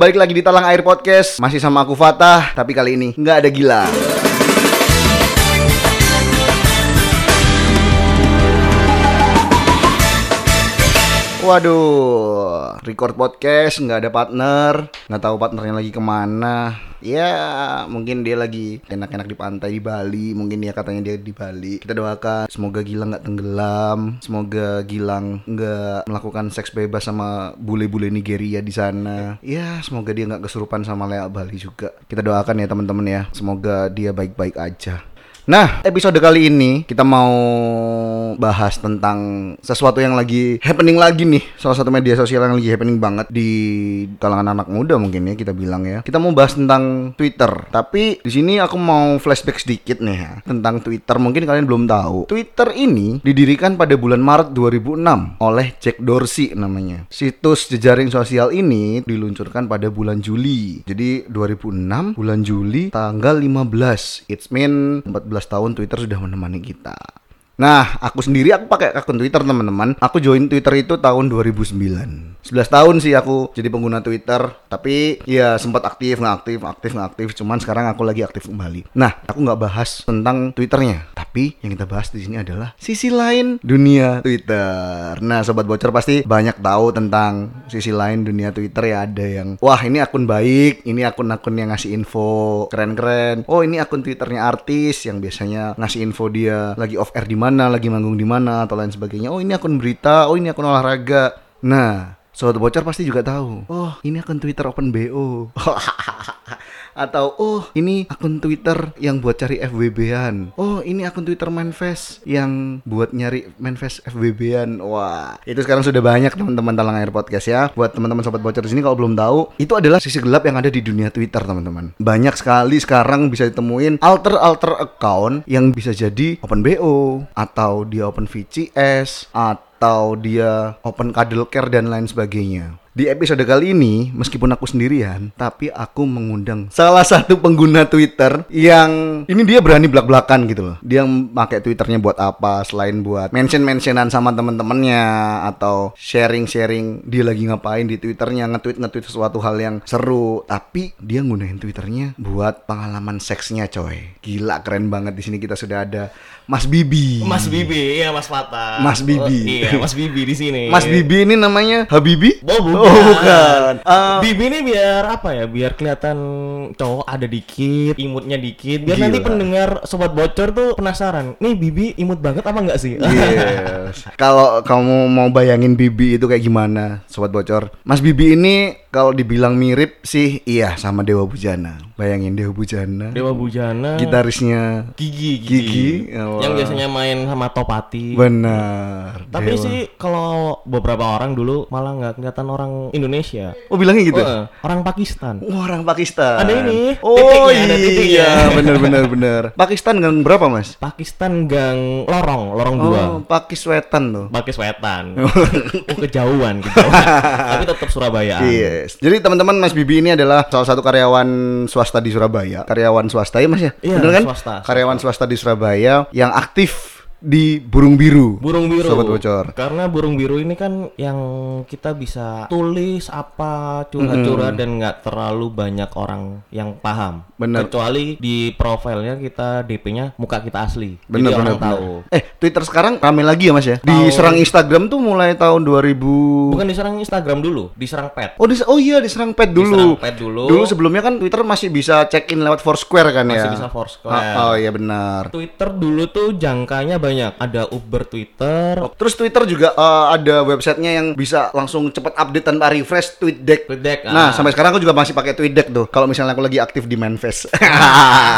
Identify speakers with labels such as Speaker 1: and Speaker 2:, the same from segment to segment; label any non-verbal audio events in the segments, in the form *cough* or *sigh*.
Speaker 1: Balik lagi di Talang Air Podcast Masih sama aku Fatah Tapi kali ini nggak ada gila Waduh Record podcast nggak ada partner nggak tahu partnernya lagi kemana Ya mungkin dia lagi enak-enak di pantai di Bali Mungkin dia katanya dia di Bali Kita doakan semoga Gilang nggak tenggelam Semoga Gilang nggak melakukan seks bebas sama bule-bule Nigeria di sana Ya semoga dia nggak kesurupan sama Lea Bali juga Kita doakan ya teman-teman ya Semoga dia baik-baik aja Nah, episode kali ini kita mau bahas tentang sesuatu yang lagi happening lagi nih. Salah satu media sosial yang lagi happening banget di kalangan anak muda mungkin ya kita bilang ya. Kita mau bahas tentang Twitter. Tapi di sini aku mau flashback sedikit nih ya tentang Twitter. Mungkin kalian belum tahu. Twitter ini didirikan pada bulan Maret 2006 oleh Jack Dorsey namanya. Situs jejaring sosial ini diluncurkan pada bulan Juli. Jadi 2006 bulan Juli tanggal 15. It's mean 14 tahun Twitter sudah menemani kita. Nah, aku sendiri aku pakai akun Twitter teman-teman. Aku join Twitter itu tahun 2009. 11 tahun sih aku jadi pengguna Twitter, tapi ya sempat aktif, nggak aktif, aktif, nggak aktif. Cuman sekarang aku lagi aktif kembali. Nah, aku nggak bahas tentang Twitternya, tapi yang kita bahas di sini adalah sisi lain dunia Twitter. Nah, sobat bocor pasti banyak tahu tentang sisi lain dunia Twitter ya. Ada yang wah ini akun baik, ini akun-akun yang ngasih info keren-keren. Oh ini akun Twitternya artis yang biasanya ngasih info dia lagi off air di mana, lagi manggung di mana atau lain sebagainya. Oh ini akun berita, oh ini akun olahraga. Nah, sobat bocor pasti juga tahu. Oh ini akun Twitter Open *laughs* BO. atau oh ini akun Twitter yang buat cari FBB-an. Oh, ini akun Twitter Manfest yang buat nyari Manfest FBB-an. Wah, itu sekarang sudah banyak teman-teman Talang Air Podcast ya. Buat teman-teman sobat bocor di sini kalau belum tahu, itu adalah sisi gelap yang ada di dunia Twitter, teman-teman. Banyak sekali sekarang bisa ditemuin alter-alter account yang bisa jadi open BO atau dia open VCS atau dia open cuddle care dan lain sebagainya. Di episode kali ini, meskipun aku sendirian, tapi aku mengundang salah satu pengguna Twitter yang ini dia berani belak-belakan gitu loh. Dia pakai Twitternya buat apa selain buat mention-mentionan sama temen-temennya atau sharing-sharing dia lagi ngapain di Twitternya nge-tweet nge-tweet sesuatu hal yang seru. Tapi dia gunain Twitternya buat pengalaman seksnya coy. Gila keren banget di sini kita sudah ada Mas Bibi.
Speaker 2: Mas Bibi, iya Mas Fatah.
Speaker 1: Mas Bibi.
Speaker 2: Oh, iya, Mas Bibi di sini.
Speaker 1: Mas Bibi ini namanya Habibi?
Speaker 2: Oh, bukan. Ah,
Speaker 1: Oh, bukan. Eh,
Speaker 2: Bibi ini biar apa ya? Biar kelihatan cowok ada dikit, imutnya dikit. Biar nanti
Speaker 1: Gila.
Speaker 2: pendengar sobat bocor tuh penasaran. Nih Bibi imut banget apa enggak sih?
Speaker 1: Iya. Yes. kalau kamu mau bayangin Bibi itu kayak gimana, sobat bocor? Mas Bibi ini kalau dibilang mirip sih iya sama Dewa Bujana. Bayangin Dewa Bujana,
Speaker 2: *laughs* Dewa Bujana.
Speaker 1: gitarisnya
Speaker 2: Gigi, gigi.
Speaker 1: Gigi, ya Allah.
Speaker 2: yang biasanya main sama Topati.
Speaker 1: benar.
Speaker 2: Tapi
Speaker 1: Dewa.
Speaker 2: sih kalau beberapa orang dulu malah nggak kelihatan orang Indonesia.
Speaker 1: oh bilangnya gitu.
Speaker 2: Oh, eh, orang Pakistan.
Speaker 1: Wah, Orang Pakistan.
Speaker 2: Ada ini,
Speaker 1: Oh
Speaker 2: titiknya, ada titiknya.
Speaker 1: iya, bener bener bener. Pakistan gang berapa mas?
Speaker 2: Pakistan gang lorong, lorong dua.
Speaker 1: Oh, Pakis Wetan tuh.
Speaker 2: pakai
Speaker 1: *laughs*
Speaker 2: sweatan. oh, kejauhan, kejauhan. Tapi tetap Surabaya.
Speaker 1: Yes. Jadi teman-teman Mas Bibi ini adalah salah satu karyawan swasta di Surabaya. Karyawan swasta ya Mas ya?
Speaker 2: Iya,
Speaker 1: Bener kan?
Speaker 2: swasta.
Speaker 1: Karyawan swasta di Surabaya yang aktif di Burung Biru.
Speaker 2: Burung biru.
Speaker 1: Sobat bocor.
Speaker 2: Karena burung biru ini kan yang kita bisa tulis apa curhat-curhat dan nggak terlalu banyak orang yang paham.
Speaker 1: Bener.
Speaker 2: Kecuali di profilnya kita DP-nya muka kita asli.
Speaker 1: Bener, bener,
Speaker 2: Jadi orang Iya, tahu.
Speaker 1: bener. Eh, Twitter sekarang rame lagi ya Mas ya? Diserang Instagram tuh mulai tahun 2000
Speaker 2: Bukan diserang Instagram dulu, diserang pet.
Speaker 1: Oh, dis- oh iya diserang pet dulu.
Speaker 2: Diserang pet dulu.
Speaker 1: Dulu sebelumnya kan Twitter masih bisa check in lewat Foursquare kan ya?
Speaker 2: Masih bisa Foursquare.
Speaker 1: Ah, oh iya benar.
Speaker 2: Twitter dulu tuh jangkanya banyak. Ada Uber Twitter,
Speaker 1: Terus Twitter juga eh, ada websitenya yang bisa langsung cepet update tanpa refresh, TweetDeck.
Speaker 2: Tweet Deck.
Speaker 1: Nah,
Speaker 2: ah.
Speaker 1: sampai sekarang aku juga masih pakai TweetDeck tuh. Kalau misalnya aku lagi aktif di *laughs* Manfest.
Speaker 2: Ah.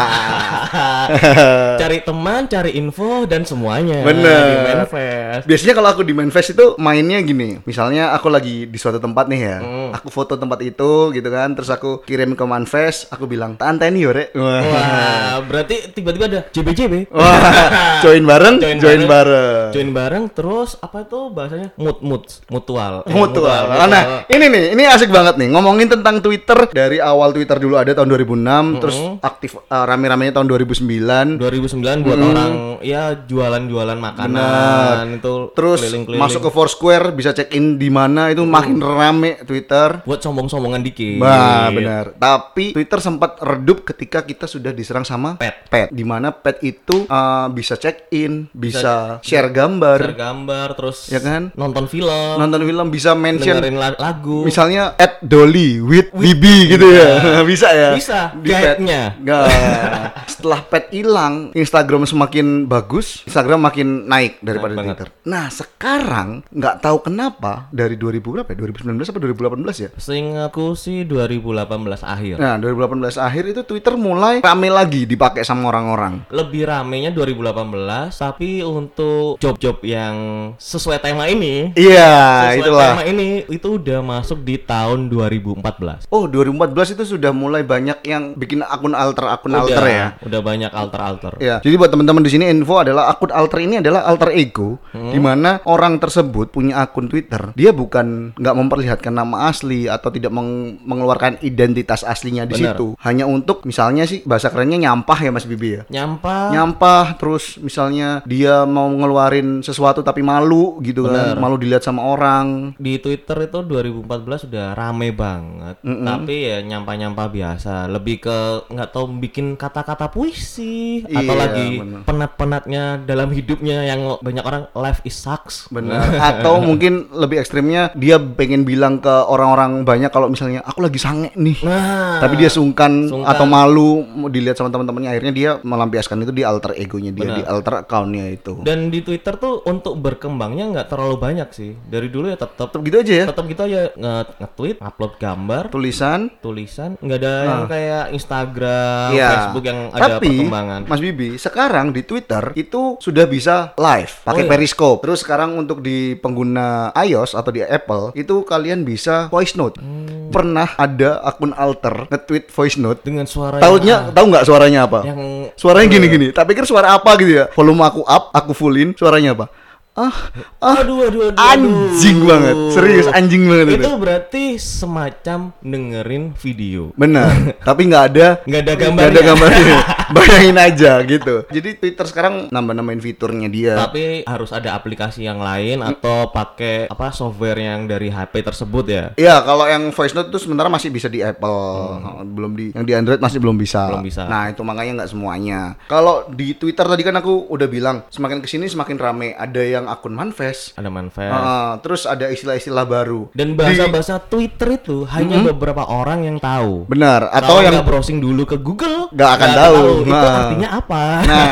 Speaker 1: *laughs*
Speaker 2: *laughs* cari teman, cari info dan semuanya.
Speaker 1: Bener.
Speaker 2: Di manifest.
Speaker 1: Biasanya kalau aku di Manfest itu mainnya gini. Misalnya aku lagi di suatu tempat nih ya. Aku foto tempat itu gitu kan, terus aku kirim ke Manfest, aku bilang, "Tante ini yore." Wah. Oh.
Speaker 2: Wah, berarti tiba-tiba ada JBJB.
Speaker 1: *laughs* Wah. Join bareng.
Speaker 2: join,
Speaker 1: join
Speaker 2: bareng.
Speaker 1: bareng.
Speaker 2: Join bareng terus apa itu bahasanya? Mood mood mutual. Eh,
Speaker 1: Mutual. Nah, ini nih, ini asik banget nih. Ngomongin tentang Twitter dari awal Twitter dulu ada tahun 2006, terus aktif eh, rame-ramenya tahun 2009.
Speaker 2: 2009
Speaker 1: Mm-hmm.
Speaker 2: buat orang ya jualan-jualan makanan itu
Speaker 1: Terus
Speaker 2: keliling-keliling.
Speaker 1: masuk ke Foursquare bisa check in di mana itu makin rame Twitter.
Speaker 2: buat sombong-sombongan dikit.
Speaker 1: Bah,
Speaker 2: Iya.
Speaker 1: benar. Tapi Twitter sempat redup ketika kita sudah diserang sama
Speaker 2: Pet.
Speaker 1: pet. Di mana pet itu eh, bisa check in, bisa, share gambar,
Speaker 2: Share gambar terus
Speaker 1: Ya kan?
Speaker 2: nonton film,
Speaker 1: nonton film, bisa mention
Speaker 2: dengerin la- lagu.
Speaker 1: misalnya at Dolly with, Bibi gitu ya. *laughs* bisa ya?
Speaker 2: Bisa,
Speaker 1: Di pet.
Speaker 2: guide-nya.
Speaker 1: Nggak. *laughs* Setelah pet hilang, Instagram semakin bagus, Instagram makin naik daripada
Speaker 2: Naik banget.
Speaker 1: Twitter. Nah, sekarang nggak tahu kenapa dari 2000 berapa ya? 2019 apa 2018 ya?
Speaker 2: Iya. Seingatku sih 2018 akhir.
Speaker 1: Nah, 2018 akhir itu Twitter mulai rame lagi dipakai sama orang-orang.
Speaker 2: Lebih ramenya 2018, tapi untuk job-job yang sesuai tema ini,
Speaker 1: Iya,
Speaker 2: sesuai
Speaker 1: itulah.
Speaker 2: tema ini itu udah masuk di tahun 2014.
Speaker 1: Oh, 2014 itu sudah mulai banyak yang bikin akun alter akun alter ya.
Speaker 2: Udah banyak alter-alter.
Speaker 1: Ya, jadi buat teman-teman di sini info adalah akun alter ini adalah alter ego
Speaker 2: Hmm.
Speaker 1: di mana orang tersebut punya akun Twitter. Dia bukan nggak memperlihatkan nama asli atau tidak meng- mengeluarkan identitas aslinya di
Speaker 2: Benar.
Speaker 1: situ. Hanya untuk misalnya sih bahasa kerennya nyampah ya Mas Bibi ya.
Speaker 2: Nyampah
Speaker 1: Nyampah terus misalnya dia mau ngeluarin sesuatu tapi malu gitu kan, malu dilihat sama orang.
Speaker 2: di Twitter itu 2014 sudah rame banget, tapi ya nyampah-nyampah biasa, lebih ke nggak tahu bikin kata-kata puisi atau
Speaker 1: Iya,
Speaker 2: lagi
Speaker 1: benar.
Speaker 2: penat-penatnya dalam hidupnya yang banyak orang life is sucks.
Speaker 1: Benar. *laughs* Atau mungkin lebih ekstrimnya dia pengen bilang ke orang-orang banyak kalau misalnya aku lagi sange nih.
Speaker 2: Nah,
Speaker 1: tapi dia sungkan,
Speaker 2: Sungkan.
Speaker 1: atau malu mau dilihat sama teman-temannya akhirnya dia melampiaskan itu di alter egonya dia di alter accountnya itu
Speaker 2: Gitu. dan di Twitter tuh untuk berkembangnya nggak terlalu banyak sih. Dari dulu ya tetap
Speaker 1: tetap gitu aja ya
Speaker 2: tetap kita ya nge- nge-tweet, upload gambar,
Speaker 1: tulisan
Speaker 2: tulisan, nggak ada yang kayak Instagram, Facebook yang ada
Speaker 1: Ah. Iya. tapi
Speaker 2: perkembangan.
Speaker 1: Mas Bibi sekarang di Twitter itu sudah bisa live pakai
Speaker 2: Oh, iya.
Speaker 1: Periscope. Terus sekarang untuk di pengguna iOS atau di Apple itu kalian bisa voice note.
Speaker 2: Hmm.
Speaker 1: Pernah ada akun alter nge-tweet voice note.
Speaker 2: Dengan suara yang-
Speaker 1: Taunya tahu nggak suaranya apa?
Speaker 2: Oh, iya. yang Iya.
Speaker 1: Suaranya gini-gini. Tak pikir suara apa gitu ya. Volume aku up, aku fullin, suaranya apa? Ah, ah,
Speaker 2: aduh aduh aduh, aduh.
Speaker 1: anjing banget. Serius anjing banget itu.
Speaker 2: itu berarti semacam dengerin video
Speaker 1: Benar. Tapi nggak ada
Speaker 2: nggak ada ya,
Speaker 1: nggak ada
Speaker 2: gambarnya *laughs*
Speaker 1: gambarnya. Bayangin aja gitu. Jadi Twitter sekarang nambah-nambahin fiturnya dia.
Speaker 2: tapi harus ada aplikasi yang lain atau pakai apa software yang dari HP tersebut ya
Speaker 1: Iya, kalau yang voice note itu sementara masih bisa di Apple, belum di yang di Android masih belum bisa.
Speaker 2: Hmm. Belum bisa.
Speaker 1: Nah, itu makanya nggak semuanya. Kalau di Twitter tadi kan aku udah bilang, semakin kesini semakin rame. Ada yang akun manifest,
Speaker 2: ada manfaat
Speaker 1: Ah, terus ada istilah-istilah baru.
Speaker 2: dan bahasa-bahasa Twitter itu hanya beberapa orang yang tahu
Speaker 1: Benar, atau
Speaker 2: Kalau
Speaker 1: yang
Speaker 2: nggak browsing dulu ke Google
Speaker 1: Nggak akan tahu.
Speaker 2: itu
Speaker 1: Nah.
Speaker 2: artinya apa *laughs*
Speaker 1: Nah,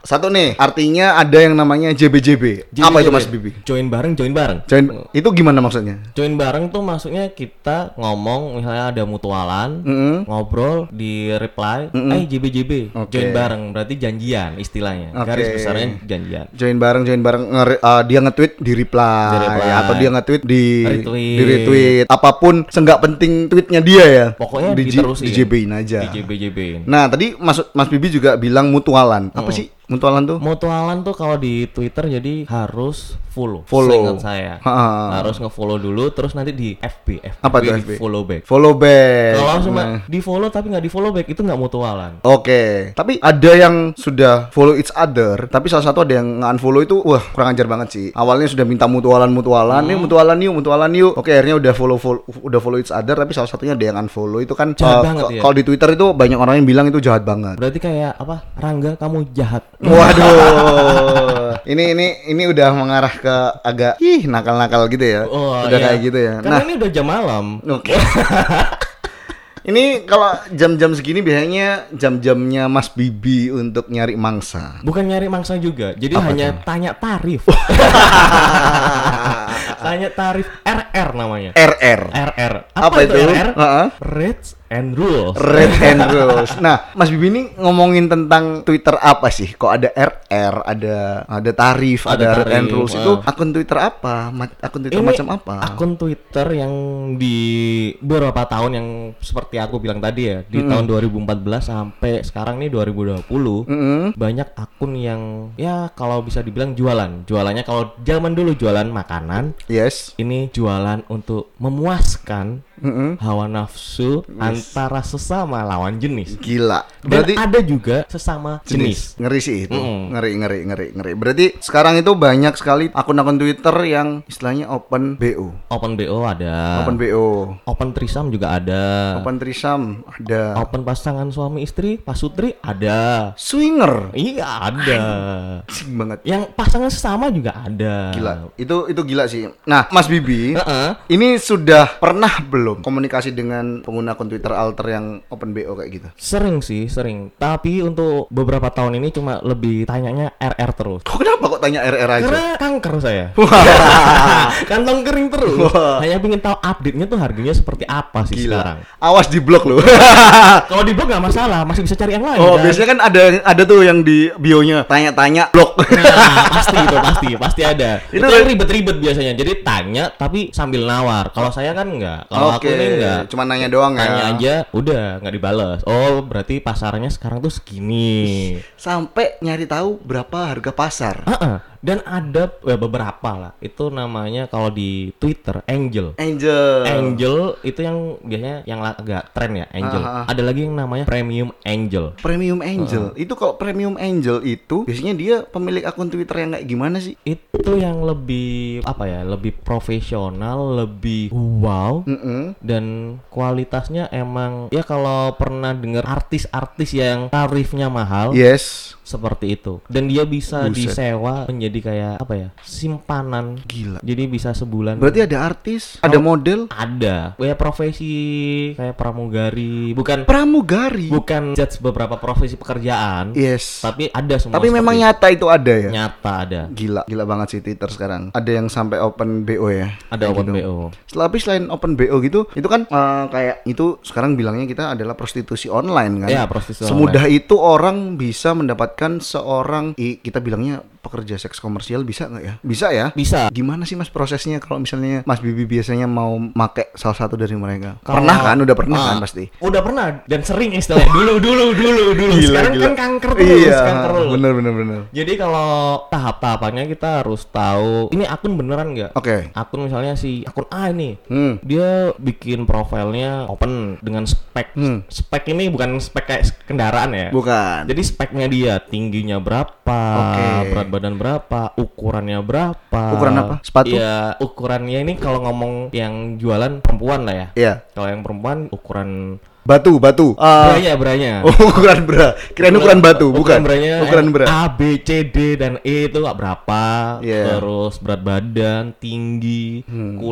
Speaker 1: satu nih, artinya ada yang namanya JBJB.
Speaker 2: Jadi-
Speaker 1: Apa itu
Speaker 2: jadi,
Speaker 1: Mas Bibi?
Speaker 2: join bareng join bareng
Speaker 1: Join- itu gimana maksudnya?
Speaker 2: Join bareng tuh maksudnya kita ngomong misalnya ada mutualan, ngobrol di reply, eh JBJB,
Speaker 1: Oke.
Speaker 2: join bareng berarti janjian istilahnya.
Speaker 1: Oke.
Speaker 2: Garis besarnya janjian.
Speaker 1: Join bareng, join bareng nge- eh, dia nge-tweet di reply,
Speaker 2: Di reply.
Speaker 1: atau dia nge-tweet di
Speaker 2: Retweet.
Speaker 1: di retweet. Apapun senggak penting tweetnya dia ya.
Speaker 2: Pokoknya
Speaker 1: di,
Speaker 2: diterusin.
Speaker 1: di JB-in aja.
Speaker 2: Di JBJB.
Speaker 1: Nah, tadi Mas Mas Bibi juga bilang mutualan.
Speaker 2: Oh.
Speaker 1: Apa sih mutualan tuh?
Speaker 2: Mutualan tuh kalau di Twitter jadi harus follow.
Speaker 1: Follow.
Speaker 2: Seingat saya.
Speaker 1: Ha.
Speaker 2: Harus nge-follow dulu terus nanti di FB, FB
Speaker 1: Apa tuh
Speaker 2: di
Speaker 1: FB?
Speaker 2: follow back.
Speaker 1: Follow back.
Speaker 2: Kalau cuma
Speaker 1: Nah.
Speaker 2: di follow tapi nggak di follow back itu nggak mutualan.
Speaker 1: Oke, tapi ada yang sudah follow each other, tapi salah satu ada yang unfollow itu, wah kurang ajar banget sih. Awalnya sudah minta mutualan, mutualan,
Speaker 2: Hmm.
Speaker 1: yuk mutualan yuk, mutualan yuk. Oke, akhirnya udah follow, follow, udah follow each other, tapi salah satunya ada yang unfollow itu kan. eh,
Speaker 2: Jahat banget
Speaker 1: k-
Speaker 2: ya.
Speaker 1: Kalau di Twitter itu banyak orang yang bilang itu jahat banget.
Speaker 2: Berarti kayak apa? Rangga kamu jahat.
Speaker 1: Waduh,
Speaker 2: *laughs*
Speaker 1: ini ini ini udah mengarah ke agak ih nakal-nakal gitu ya,
Speaker 2: Oh,
Speaker 1: udah
Speaker 2: iya.
Speaker 1: kayak gitu ya. Nah,
Speaker 2: Karena ini udah jam malam.
Speaker 1: Oke. *laughs* Ini kalau jam-jam segini biasanya jam-jamnya Mas Bibi untuk nyari mangsa.
Speaker 2: Bukan nyari mangsa juga, jadi hanya tanya
Speaker 1: *laughs*
Speaker 2: tarif. tanya tarif RR namanya.
Speaker 1: RR.
Speaker 2: RR.
Speaker 1: Apa itu?
Speaker 2: RR?
Speaker 1: Heeh.
Speaker 2: Rates and Rules.
Speaker 1: Red and Rose. Nah, Mas Bibi ini ngomongin tentang Twitter apa sih? Kok ada RR, ada ada tarif,
Speaker 2: Ada
Speaker 1: ada, Red
Speaker 2: tarif,
Speaker 1: and Rules
Speaker 2: ah.
Speaker 1: itu akun Twitter apa? Ma- akun Twitter macam apa?
Speaker 2: Akun Twitter yang di beberapa tahun yang seperti aku bilang tadi ya, di tahun 2014 sampai sekarang nih 2020, banyak akun yang ya kalau bisa dibilang jualan. Jualannya kalau zaman dulu jualan makanan,
Speaker 1: Yes.
Speaker 2: ini jualan untuk memuaskan hawa nafsu antara sesama lawan jenis.
Speaker 1: Gila.
Speaker 2: Dan
Speaker 1: Berarti
Speaker 2: ada juga sesama jenis.
Speaker 1: ngeri sih itu.
Speaker 2: Mm-mm.
Speaker 1: Ngeri ngeri ngeri ngeri. Berarti sekarang itu banyak sekali akun-akun Twitter yang istilahnya open BO.
Speaker 2: Open BO ada.
Speaker 1: Open BO.
Speaker 2: Open Trisam juga ada.
Speaker 1: Open Trisam ada.
Speaker 2: Open pasangan suami istri, pasutri ada.
Speaker 1: Swinger.
Speaker 2: Iya ada.
Speaker 1: Asik banget.
Speaker 2: Yang pasangan sesama juga ada.
Speaker 1: Gila. Itu itu gila sih. Nah, Mas Bibi,
Speaker 2: Heeh.
Speaker 1: Ini sudah pernah belum komunikasi dengan pengguna akun Twitter alter yang open BO kayak gitu?
Speaker 2: Sering sih, sering. Tapi untuk beberapa tahun ini cuma lebih tanyanya RR terus.
Speaker 1: Kok kenapa kok tanya RR aja?
Speaker 2: Karena kanker saya. *laughs* Kantong kering terus. Hanya ingin tahu update-nya tuh harganya seperti apa
Speaker 1: Gila.
Speaker 2: sih sekarang.
Speaker 1: Awas di blok lu. *laughs*
Speaker 2: Kalau di blog nggak masalah, masih bisa cari yang lain.
Speaker 1: oh,
Speaker 2: kan?
Speaker 1: biasanya kan ada ada tuh yang di bio-nya tanya-tanya blok.
Speaker 2: *laughs* Nah, pasti itu pasti pasti ada.
Speaker 1: Itu
Speaker 2: Itu, yang ribet-ribet biasanya. Jadi tanya tapi sambil nawar. Kalau saya kan enggak.
Speaker 1: *laughs*
Speaker 2: Kalau aku ini enggak.
Speaker 1: cuma nanya doang ya.
Speaker 2: Tanya aja, udah nggak dibales. Oh, berarti pasarnya sekarang tuh segini.
Speaker 1: Sampai nyari tahu berapa harga pasar.
Speaker 2: Heeh. Dan ada eh, beberapa lah. Itu namanya kalau di Twitter Angel.
Speaker 1: Angel.
Speaker 2: Angel itu yang biasanya yang la- agak tren ya Angel.
Speaker 1: Ah, ah,
Speaker 2: Ada lagi yang namanya Premium Angel.
Speaker 1: Premium
Speaker 2: Oh.
Speaker 1: Angel. Itu kalau Premium Angel itu biasanya dia pemilik akun Twitter yang kayak gimana sih?
Speaker 2: Itu yang lebih apa ya? Lebih profesional, lebih wow.
Speaker 1: Mm-mm.
Speaker 2: dan kualitasnya emang ya kalau pernah denger artis-artis yang tarifnya mahal
Speaker 1: Yes.
Speaker 2: seperti itu dan dia bisa
Speaker 1: Buset.
Speaker 2: disewa menjadi kayak apa ya simpanan
Speaker 1: Gila.
Speaker 2: jadi bisa sebulan
Speaker 1: Berarti ada artis,
Speaker 2: Oh.
Speaker 1: ada model,
Speaker 2: ada kayak profesi kayak pramugari bukan
Speaker 1: pramugari.
Speaker 2: bukan judge beberapa profesi pekerjaan
Speaker 1: Yes.
Speaker 2: tapi ada semua
Speaker 1: Iya. Tapi
Speaker 2: seperti
Speaker 1: memang
Speaker 2: itu.
Speaker 1: nyata itu ada ya.
Speaker 2: nyata ada
Speaker 1: Gila, gila banget sih Twitter sekarang. Ada yang sampai open BO ya.
Speaker 2: ada
Speaker 1: Kayak
Speaker 2: open
Speaker 1: gitu.
Speaker 2: BO
Speaker 1: Setelah tapi selain open BO gitu, itu kan eh, kayak itu sekarang bilangnya kita adalah prostitusi online kan.
Speaker 2: ya prostitusi
Speaker 1: Semudah itu orang bisa mendapatkan seorang i- kita bilangnya pekerja seks komersial bisa nggak ya? Bisa ya?
Speaker 2: online. bisa
Speaker 1: Gimana sih Mas prosesnya kalau misalnya Mas Bibi biasanya mau make salah satu dari mereka?
Speaker 2: Kalau-
Speaker 1: Pernah kan? Udah pernah
Speaker 2: Ah,
Speaker 1: kan pasti.
Speaker 2: Udah pernah dan sering istilahnya *laughs* dulu dulu dulu dulu. Sekarang kan kanker terus,
Speaker 1: Iya,
Speaker 2: kanker terus.
Speaker 1: bener bener bener.
Speaker 2: Jadi kalau tahap-tahapannya kita harus tahu ini akun beneran nggak?
Speaker 1: Oke.
Speaker 2: Akun misalnya si akun A ini.
Speaker 1: Hmm.
Speaker 2: Dia bikin profilnya open dengan spek.
Speaker 1: Hmm.
Speaker 2: Spek ini bukan spek kayak kendaraan ya.
Speaker 1: Bukan.
Speaker 2: Jadi speknya dia tingginya berapa,
Speaker 1: Oke.
Speaker 2: berat badan berapa, ukurannya berapa.
Speaker 1: Ukuran apa? Sepatu?
Speaker 2: Ya ukurannya ini kalau ngomong yang jualan perempuan lah ya.
Speaker 1: Iya.
Speaker 2: Kalau yang perempuan ukuran
Speaker 1: Batu, batu. Eh,
Speaker 2: beranya beranya.
Speaker 1: Oh, *laughs* ukuran bra. Kirain ukuran batu, bukan.
Speaker 2: beranya
Speaker 1: Ukuran
Speaker 2: yang
Speaker 1: bra.
Speaker 2: A B C D dan E itu nggak berapa.
Speaker 1: Iya. Hmm.
Speaker 2: Terus berat badan, tinggi,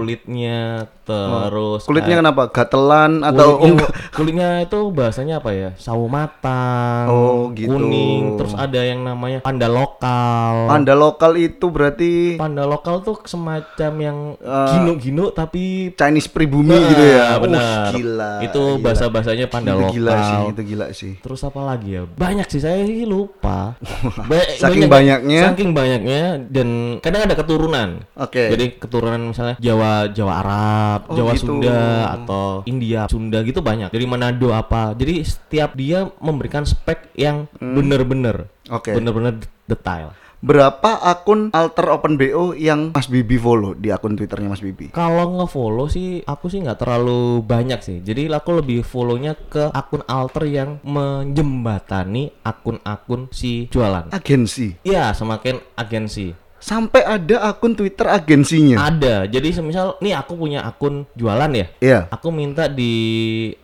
Speaker 2: kulitnya, terus
Speaker 1: Kulitnya
Speaker 2: kayak-
Speaker 1: kenapa? Gatelan atau
Speaker 2: Ah. kulitnya,
Speaker 1: enggak?
Speaker 2: kulitnya itu bahasanya apa ya? Sawo matang,
Speaker 1: Oh, gitu.
Speaker 2: kuning, terus ada yang namanya panda lokal.
Speaker 1: Panda lokal itu berarti
Speaker 2: Panda lokal tuh semacam yang gino-gino tapi
Speaker 1: Chinese pribumi
Speaker 2: Ah,
Speaker 1: Eh, gitu ya. Uh,
Speaker 2: benar.
Speaker 1: gila.
Speaker 2: Itu
Speaker 1: gila.
Speaker 2: bahasa-bahasanya panda
Speaker 1: itu
Speaker 2: lokal.
Speaker 1: gila sih, gitu. itu gila sih.
Speaker 2: Terus apa lagi ya? Banyak sih saya sih lupa.
Speaker 1: *laughs*
Speaker 2: Ba-
Speaker 1: Saking banyaknya.
Speaker 2: Saking banyaknya dan kadang ada keturunan.
Speaker 1: Oke.
Speaker 2: Jadi keturunan misalnya Jawa Jawa Arab,
Speaker 1: Oh,
Speaker 2: Jawa
Speaker 1: gitu.
Speaker 2: Sunda atau India Sunda gitu banyak. Jadi Manado apa. Jadi setiap dia memberikan spek yang bener-bener
Speaker 1: Hmm. Oke.
Speaker 2: bener-bener det- detail.
Speaker 1: Berapa akun alter open BO yang Mas Bibi follow di akun Twitternya Mas Bibi?
Speaker 2: Kalau nge-follow sih aku sih nggak terlalu banyak sih. Jadi aku lebih follow-nya ke akun alter yang menjembatani akun-akun si
Speaker 1: Ah.
Speaker 2: jualan.
Speaker 1: Agensi.
Speaker 2: Iya, semakin agensi.
Speaker 1: Sampai ada akun Twitter agensinya.
Speaker 2: Ada. Jadi semisal nih aku punya akun jualan ya.
Speaker 1: Iya,
Speaker 2: Aku minta di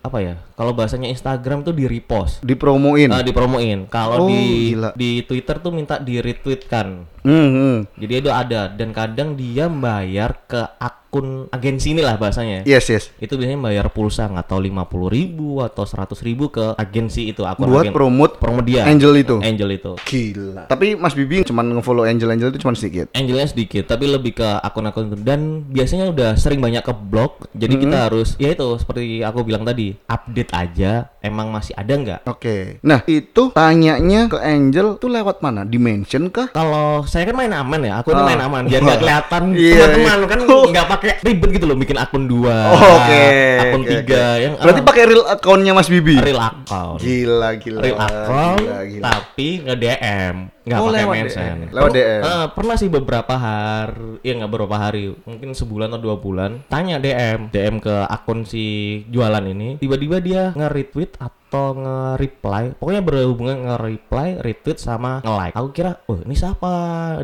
Speaker 2: apa ya? Kalau bahasanya Instagram tuh di repost.
Speaker 1: dipromoin.
Speaker 2: Eh, dipromoin.
Speaker 1: Oh,
Speaker 2: Kalau di
Speaker 1: gila.
Speaker 2: di Twitter tuh minta di retweetkan.
Speaker 1: Hmm, hmm.
Speaker 2: Jadi itu ada dan kadang dia bayar ke akun akun agensi inilah bahasanya.
Speaker 1: Yes, yes.
Speaker 2: Itu biasanya bayar pulsa nggak tahu 50 ribu atau 100 ribu ke agensi itu akun
Speaker 1: Buat
Speaker 2: agen-
Speaker 1: promote
Speaker 2: promo dia.
Speaker 1: Angel itu.
Speaker 2: Angel itu.
Speaker 1: Gila. Tapi Mas Bibi cuman ngefollow Angel-Angel itu cuman sedikit.
Speaker 2: Angelnya sedikit, tapi lebih ke akun-akun itu. dan biasanya udah sering banyak ke blog. Jadi kita harus ya itu seperti aku bilang tadi, update aja emang masih ada nggak.
Speaker 1: Oke. Nah, itu tanyanya ke Angel tuh lewat mana? Dimension kah?
Speaker 2: Kalau saya kan main aman ya, aku ini
Speaker 1: Ah.
Speaker 2: main aman
Speaker 1: *laughs*
Speaker 2: biar nggak
Speaker 1: Wah.
Speaker 2: kelihatan
Speaker 1: Iya,
Speaker 2: teman-teman
Speaker 1: iya.
Speaker 2: kan nggak pakai ribet gitu loh bikin akun dua, akun
Speaker 1: oke,
Speaker 2: tiga
Speaker 1: oke.
Speaker 2: yang
Speaker 1: Berarti
Speaker 2: ah,
Speaker 1: pakai real account-nya Mas Bibi.
Speaker 2: real account.
Speaker 1: Gila, gila.
Speaker 2: real account
Speaker 1: Gila, gila.
Speaker 2: tapi nge DM nggak
Speaker 1: Oh,
Speaker 2: pakai
Speaker 1: lewat
Speaker 2: mention
Speaker 1: DM. Lewat DM.
Speaker 2: Eh, pernah sih beberapa hari ya nggak beberapa hari mungkin sebulan atau dua bulan tanya DM DM ke akun si jualan ini tiba-tiba dia nge-retweet atau nge-reply pokoknya berhubungan nge-reply retweet sama nge-like aku kira oh ini siapa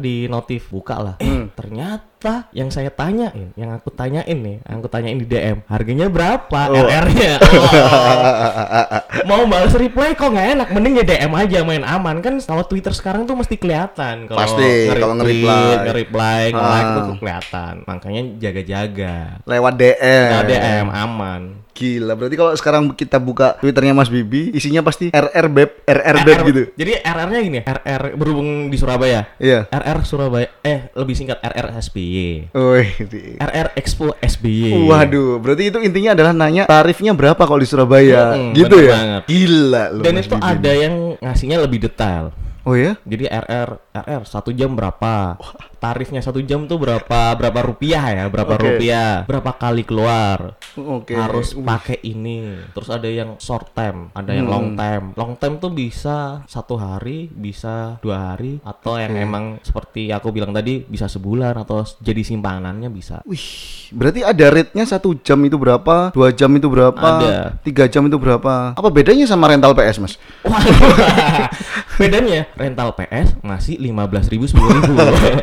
Speaker 2: di notif buka lah eh,
Speaker 1: Hmm.
Speaker 2: ternyata yang saya tanyain yang aku tanyain nih yang aku tanyain di DM harganya berapa
Speaker 1: Oh. *laughs*
Speaker 2: RR-nya mau balas reply kok nggak enak mending ya DM aja main aman kan kalau Twitter sekarang tuh mesti kelihatan kalau
Speaker 1: Pasti, kalau
Speaker 2: nge-retweet,
Speaker 1: nge-reply.
Speaker 2: nge-reply nge-like
Speaker 1: Ah.
Speaker 2: tuh kelihatan makanya jaga-jaga
Speaker 1: *laughs* Lewat DM.
Speaker 2: Nah, DM aman
Speaker 1: Gila, berarti kalau sekarang kita buka Twitternya Mas Bibi, isinya pasti RR Beb, RR Beb
Speaker 2: RR
Speaker 1: gitu.
Speaker 2: Eh, jadi RR-nya gini RR berhubung di Surabaya
Speaker 1: Iya.
Speaker 2: RR Surabaya eh lebih singkat RR SBY
Speaker 1: Wih. di-
Speaker 2: RR Expo SBY
Speaker 1: Waduh, berarti itu intinya adalah nanya tarifnya berapa kalau di Surabaya,
Speaker 2: Mm-mm,
Speaker 1: gitu
Speaker 2: bener
Speaker 1: ya?
Speaker 2: banget.
Speaker 1: Gila lu.
Speaker 2: dan
Speaker 1: Mas
Speaker 2: itu
Speaker 1: Bibi.
Speaker 2: ada yang ngasihnya lebih detail
Speaker 1: Oh ya?
Speaker 2: Jadi RR RR satu jam berapa? Tarifnya satu jam tuh berapa berapa rupiah ya? Berapa
Speaker 1: Oke.
Speaker 2: rupiah? Berapa kali keluar?
Speaker 1: Oke.
Speaker 2: Harus pakai ini. Terus ada yang short time, ada
Speaker 1: Hmm.
Speaker 2: yang long time. Long time tuh bisa satu hari, bisa dua hari, atau yang emang seperti aku bilang tadi bisa sebulan atau jadi simpanannya
Speaker 1: *laughs*
Speaker 2: bisa.
Speaker 1: Wih, berarti ada rate-nya satu jam itu berapa, dua jam itu berapa,
Speaker 2: Ada.
Speaker 1: tiga jam itu berapa? Apa bedanya sama rental PS, Mas? *laughs*
Speaker 2: Wah, *laughs* bedanya rental PS masih lima belas ribu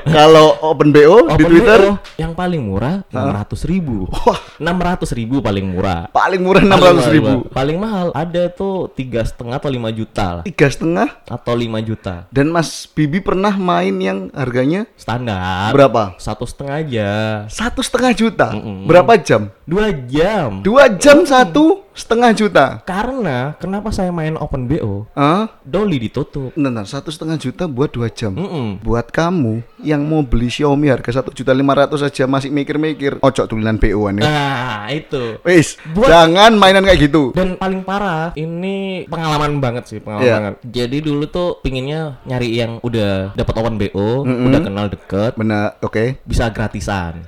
Speaker 1: kalau Open BO *laughs* di
Speaker 2: Open
Speaker 1: Twitter,
Speaker 2: BO yang paling murah enam ratus ribu.
Speaker 1: Wah.
Speaker 2: Enam ratus ribu paling murah.
Speaker 1: paling murah enam
Speaker 2: Paling
Speaker 1: ratus
Speaker 2: mahal,
Speaker 1: ribu,
Speaker 2: Bang. Paling mahal ada tuh tiga setengah atau lima juta lah.
Speaker 1: tiga setengah.
Speaker 2: Atau lima juta
Speaker 1: Dan Mas Bibi pernah main yang harganya
Speaker 2: standar.
Speaker 1: berapa?
Speaker 2: Satu setengah aja.
Speaker 1: Satu setengah juta. Berapa jam?
Speaker 2: Dua jam.
Speaker 1: Dua jam satu setengah juta.
Speaker 2: Karena kenapa saya main Open BO?
Speaker 1: Hah?
Speaker 2: Dolly ditutup.
Speaker 1: Bentar, bentar, satu setengah juta buat dua jam.
Speaker 2: Mm-mm.
Speaker 1: Buat kamu yang mau beli Xiaomi harga satu juta lima ratus aja masih mikir-mikir. Ocok tulisan BO an ya.
Speaker 2: Nah itu.
Speaker 1: Wis,
Speaker 2: Buat-
Speaker 1: jangan mainan kayak gitu.
Speaker 2: Dan paling parah ini pengalaman banget sih pengalaman
Speaker 1: Iya.
Speaker 2: banget. Jadi dulu tuh pinginnya nyari yang udah dapat Open BO, udah kenal deket,
Speaker 1: Benar, oke.
Speaker 2: bisa gratisan.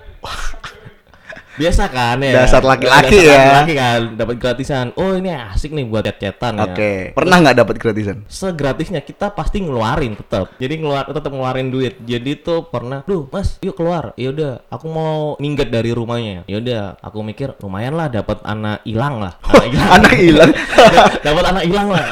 Speaker 2: Biasa kan ya.
Speaker 1: Dasar laki-laki
Speaker 2: Dasar
Speaker 1: ya.
Speaker 2: Laki kan dapat gratisan. Oh, ini asik nih buat chat-chatan ya.
Speaker 1: Oke. Pernah nggak dapat gratisan?
Speaker 2: Segratisnya kita pasti ngeluarin tetap. Jadi ngeluar tetap ngeluarin duit. Jadi tuh pernah, "Duh, Mas, yuk keluar." Ya udah, aku mau minggat dari rumahnya. Ya udah, aku mikir lumayan lah dapat anak hilang lah. Anak hilang.
Speaker 1: *laughs* Anak hilang.
Speaker 2: *laughs* dapat anak hilang
Speaker 1: *laughs*
Speaker 2: lah.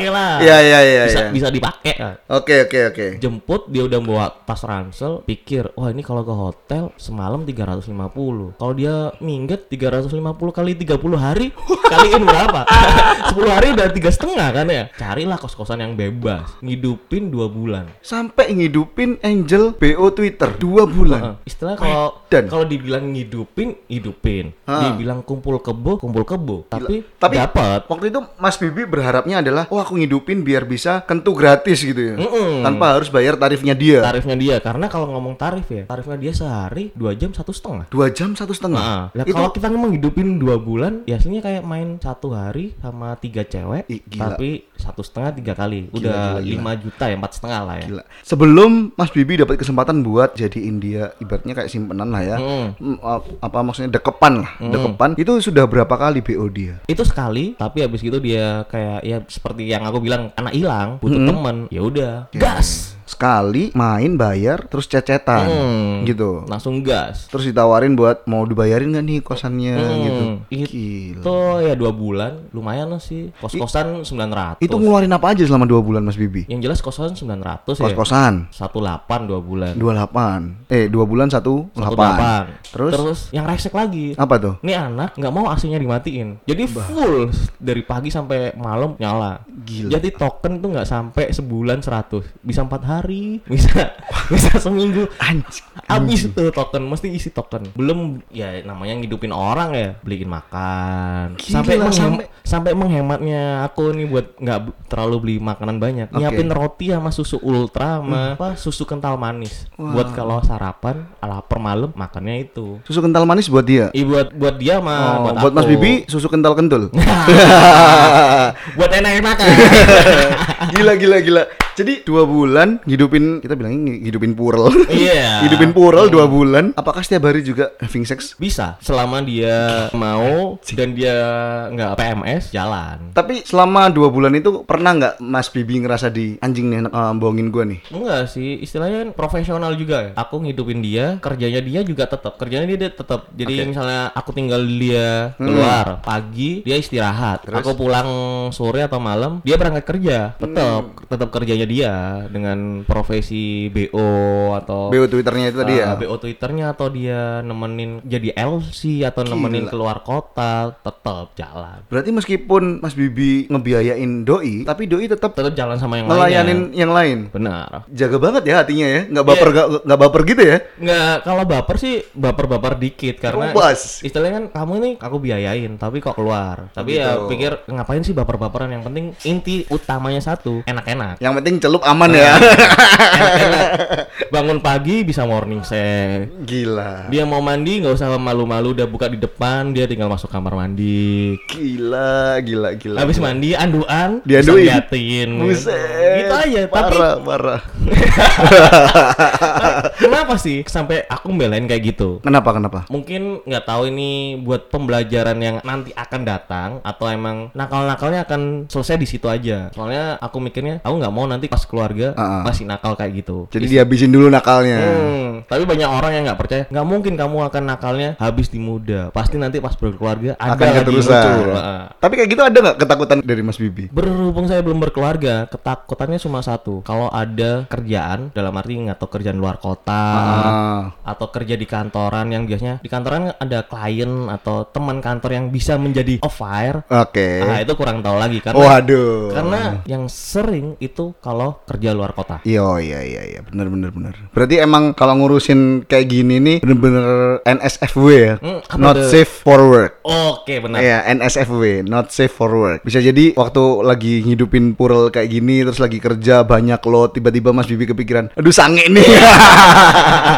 Speaker 2: Oke lah.
Speaker 1: Iya, iya, iya,
Speaker 2: Bisa
Speaker 1: iya.
Speaker 2: bisa dipakai. lah.
Speaker 1: Oke, oke, oke.
Speaker 2: jemput dia udah bawa tas ransel pikir wah ini kalau ke hotel semalam 350 kalau dia minggat 350 kali 30
Speaker 1: *laughs*
Speaker 2: hari kaliin berapa *laughs* 10 hari udah tiga setengah kan ya carilah kos-kosan yang bebas ngidupin dua bulan
Speaker 1: Sampai ngidupin Angel BO Twitter dua bulan.
Speaker 2: Heeh. Nah, istilah kalau
Speaker 1: Medan.
Speaker 2: kalau dibilang ngidupin hidupin
Speaker 1: Ah.
Speaker 2: dibilang kumpul kebo kumpul kebo tapi,
Speaker 1: Tapi-
Speaker 2: dapat
Speaker 1: Waktu itu Mas Bibi berharapnya adalah, oh aku ngidupin biar bisa kentu gratis gitu ya,
Speaker 2: Mm-mm.
Speaker 1: tanpa harus bayar tarifnya dia.
Speaker 2: tarifnya dia karena kalau ngomong tarif ya tarifnya dia sehari dua jam satu setengah
Speaker 1: Dua jam satu setengah.
Speaker 2: Nah, lah
Speaker 1: itu
Speaker 2: kalau kita ngomong hidupin dua bulan, ya aslinya kayak main satu hari sama tiga cewek,
Speaker 1: Ih, gila.
Speaker 2: tapi satu setengah tiga kali,
Speaker 1: gila,
Speaker 2: udah
Speaker 1: gila.
Speaker 2: lima juta ya empat setengah lah ya.
Speaker 1: Gila. Sebelum Mas Bibi dapat kesempatan buat jadiin dia ibaratnya kayak simpenan lah ya.
Speaker 2: Hmm.
Speaker 1: Mm, ap- Apa maksudnya dekepan lah, dekepan. Itu sudah berapa kali BO dia?
Speaker 2: Itu sekali, tapi habis gitu dia kayak ya seperti yang aku bilang anak hilang, butuh
Speaker 1: Hmm.
Speaker 2: temen, ya udah gas,
Speaker 1: Sekali main bayar terus cecetan
Speaker 2: Hmm.
Speaker 1: gitu.
Speaker 2: langsung gas.
Speaker 1: Terus ditawarin buat mau dibayarin nggak nih kosannya gitu.
Speaker 2: Hmm,
Speaker 1: Gila.
Speaker 2: Itu ya dua bulan, lumayan lah sih, kos kosan sembilan ratus.
Speaker 1: Itu ngeluarin apa aja selama dua bulan Mas Bibi?
Speaker 2: Yang jelas kos kosan sembilan ratus ya.
Speaker 1: Kos-kosan.
Speaker 2: Satu delapan dua bulan.
Speaker 1: 28. Eh, dua bulan satu
Speaker 2: Satu
Speaker 1: delapan.
Speaker 2: delapan.
Speaker 1: Terus?
Speaker 2: Terus yang resek lagi.
Speaker 1: Apa tuh?
Speaker 2: Ini anak nggak mau AC-nya dimatiin. Jadi full dari pagi sampai malam nyala.
Speaker 1: Gila.
Speaker 2: Jadi token tuh nggak sampai sebulan 100, bisa empat hari *laughs* bisa bisa seminggu
Speaker 1: Anjing.
Speaker 2: habis tuh token mesti isi token belum ya namanya ngidupin orang ya beliin makan
Speaker 1: Gila,
Speaker 2: sampai menghem-
Speaker 1: sampai-
Speaker 2: sampai menghematnya aku nih buat nggak b- terlalu beli makanan banyak
Speaker 1: Oke.
Speaker 2: nyiapin roti sama susu ultra sama apa susu kental manis
Speaker 1: Wow.
Speaker 2: buat kalau sarapan lapar malam makannya itu
Speaker 1: Susu kental manis buat dia.
Speaker 2: Ih, buat buat dia mah
Speaker 1: Oh, buat Mas
Speaker 2: aku.
Speaker 1: Bibi susu kental kentul.
Speaker 2: *laughs* buat kan. enak-enakan
Speaker 1: *laughs* gila gila gila. Jadi dua bulan hidupin kita bilangnya hidupin purel. *laughs*
Speaker 2: Iya.
Speaker 1: hidupin purel dua bulan. Hmm. Apakah setiap hari juga having sex?
Speaker 2: bisa selama dia mau dan dia nggak PMS jalan
Speaker 1: Tapi selama dua bulan itu pernah nggak Mas Bibi ngerasa di anjing nih eh, bohongin gua nih?
Speaker 2: Enggak sih, istilahnya kan profesional juga ya. Aku ngidupin dia, kerjanya dia juga tetap. Kerjanya dia, dia tetap. Jadi misalnya aku tinggal dia keluar pagi, dia istirahat.
Speaker 1: Hmm. Terus?
Speaker 2: Aku pulang sore atau malam, dia berangkat kerja. Tetap
Speaker 1: Hmm.
Speaker 2: tetap kerjanya dia dengan profesi BO atau
Speaker 1: BO Twitternya itu tadi ya.
Speaker 2: Ah, BO Twitternya atau dia nemenin jadi LC atau nemenin keluar kota, tetap jalan.
Speaker 1: Berarti meskipun Mas Bibi ngebiayain doi, tapi doi tetap
Speaker 2: Tetap jalan sama yang lainnya.
Speaker 1: ngelayanin yang lain.
Speaker 2: Benar.
Speaker 1: Jaga banget ya hatinya ya, nggak baper nggak nggak baper gitu ya?
Speaker 2: Nggak, kalau baper sih baper-baper dikit karena
Speaker 1: Bebas.
Speaker 2: istilahnya kan kamu ini aku biayain tapi kok keluar. Tapi ya
Speaker 1: Gitu.
Speaker 2: pikir ngapain sih baper-baperan yang penting inti utamanya satu, enak-enak.
Speaker 1: Yang penting celup aman ya.
Speaker 2: Bangun pagi bisa morning sex.
Speaker 1: *laughs* Gila.
Speaker 2: Dia mau mandi nggak usah malu-malu udah buka di depan, dia tinggal masuk kamar mandi.
Speaker 1: Gila, gila, gila.
Speaker 2: Habis mandi anduan, bisa
Speaker 1: Dianduin.
Speaker 2: liatin.
Speaker 1: Buset.
Speaker 2: Gitu aja, tapi
Speaker 1: parah, parah.
Speaker 2: kenapa sih sampai aku belain kayak gitu?
Speaker 1: *laughs* Kenapa, kenapa?
Speaker 2: mungkin nggak tahu ini buat pembelajaran yang nanti akan datang atau emang nakal-nakalnya akan selesai di situ aja. Soalnya aku mikirnya aku nggak mau nanti pas keluarga
Speaker 1: Ah, ah.
Speaker 2: masih nakal kayak gitu.
Speaker 1: Jadi dihabisin dulu nakalnya.
Speaker 2: Hmm, tapi banyak orang yang nggak percaya. Nggak mungkin kamu akan nakalnya habis di muda. Pasti nanti pas berkeluarga ada
Speaker 1: Akan
Speaker 2: lagi muncul.
Speaker 1: keterusan.
Speaker 2: Ah.
Speaker 1: Tapi kayak gitu ada nggak ketakutan dari Mas Bibi?
Speaker 2: Berhubung saya belum berkeluarga, ketakutannya cuma satu. Kalau ada kerjaan, dalam arti nggak tahu kerjaan luar kota,
Speaker 1: Ah.
Speaker 2: atau kerja di kantoran yang biasanya di kantoran ada klien atau teman kantor yang bisa menjadi off fire
Speaker 1: Oke.
Speaker 2: ah itu kurang tahu lagi karena
Speaker 1: Waduh.
Speaker 2: karena yang sering itu kalau kerja luar kota
Speaker 1: Iya, iya, iya, iya, bener, bener, bener. Berarti emang kalau ngurusin kayak gini nih bener-bener NSFW ya,
Speaker 2: Hmm, apa
Speaker 1: not
Speaker 2: tuh? Nah.
Speaker 1: safe for work.
Speaker 2: oke benar
Speaker 1: Iya, NSFW, not safe for work. Bisa jadi waktu lagi ngidupin purel kayak gini, terus lagi kerja banyak lo, tiba-tiba Mas Bibi kepikiran, aduh sange nih. *laughs*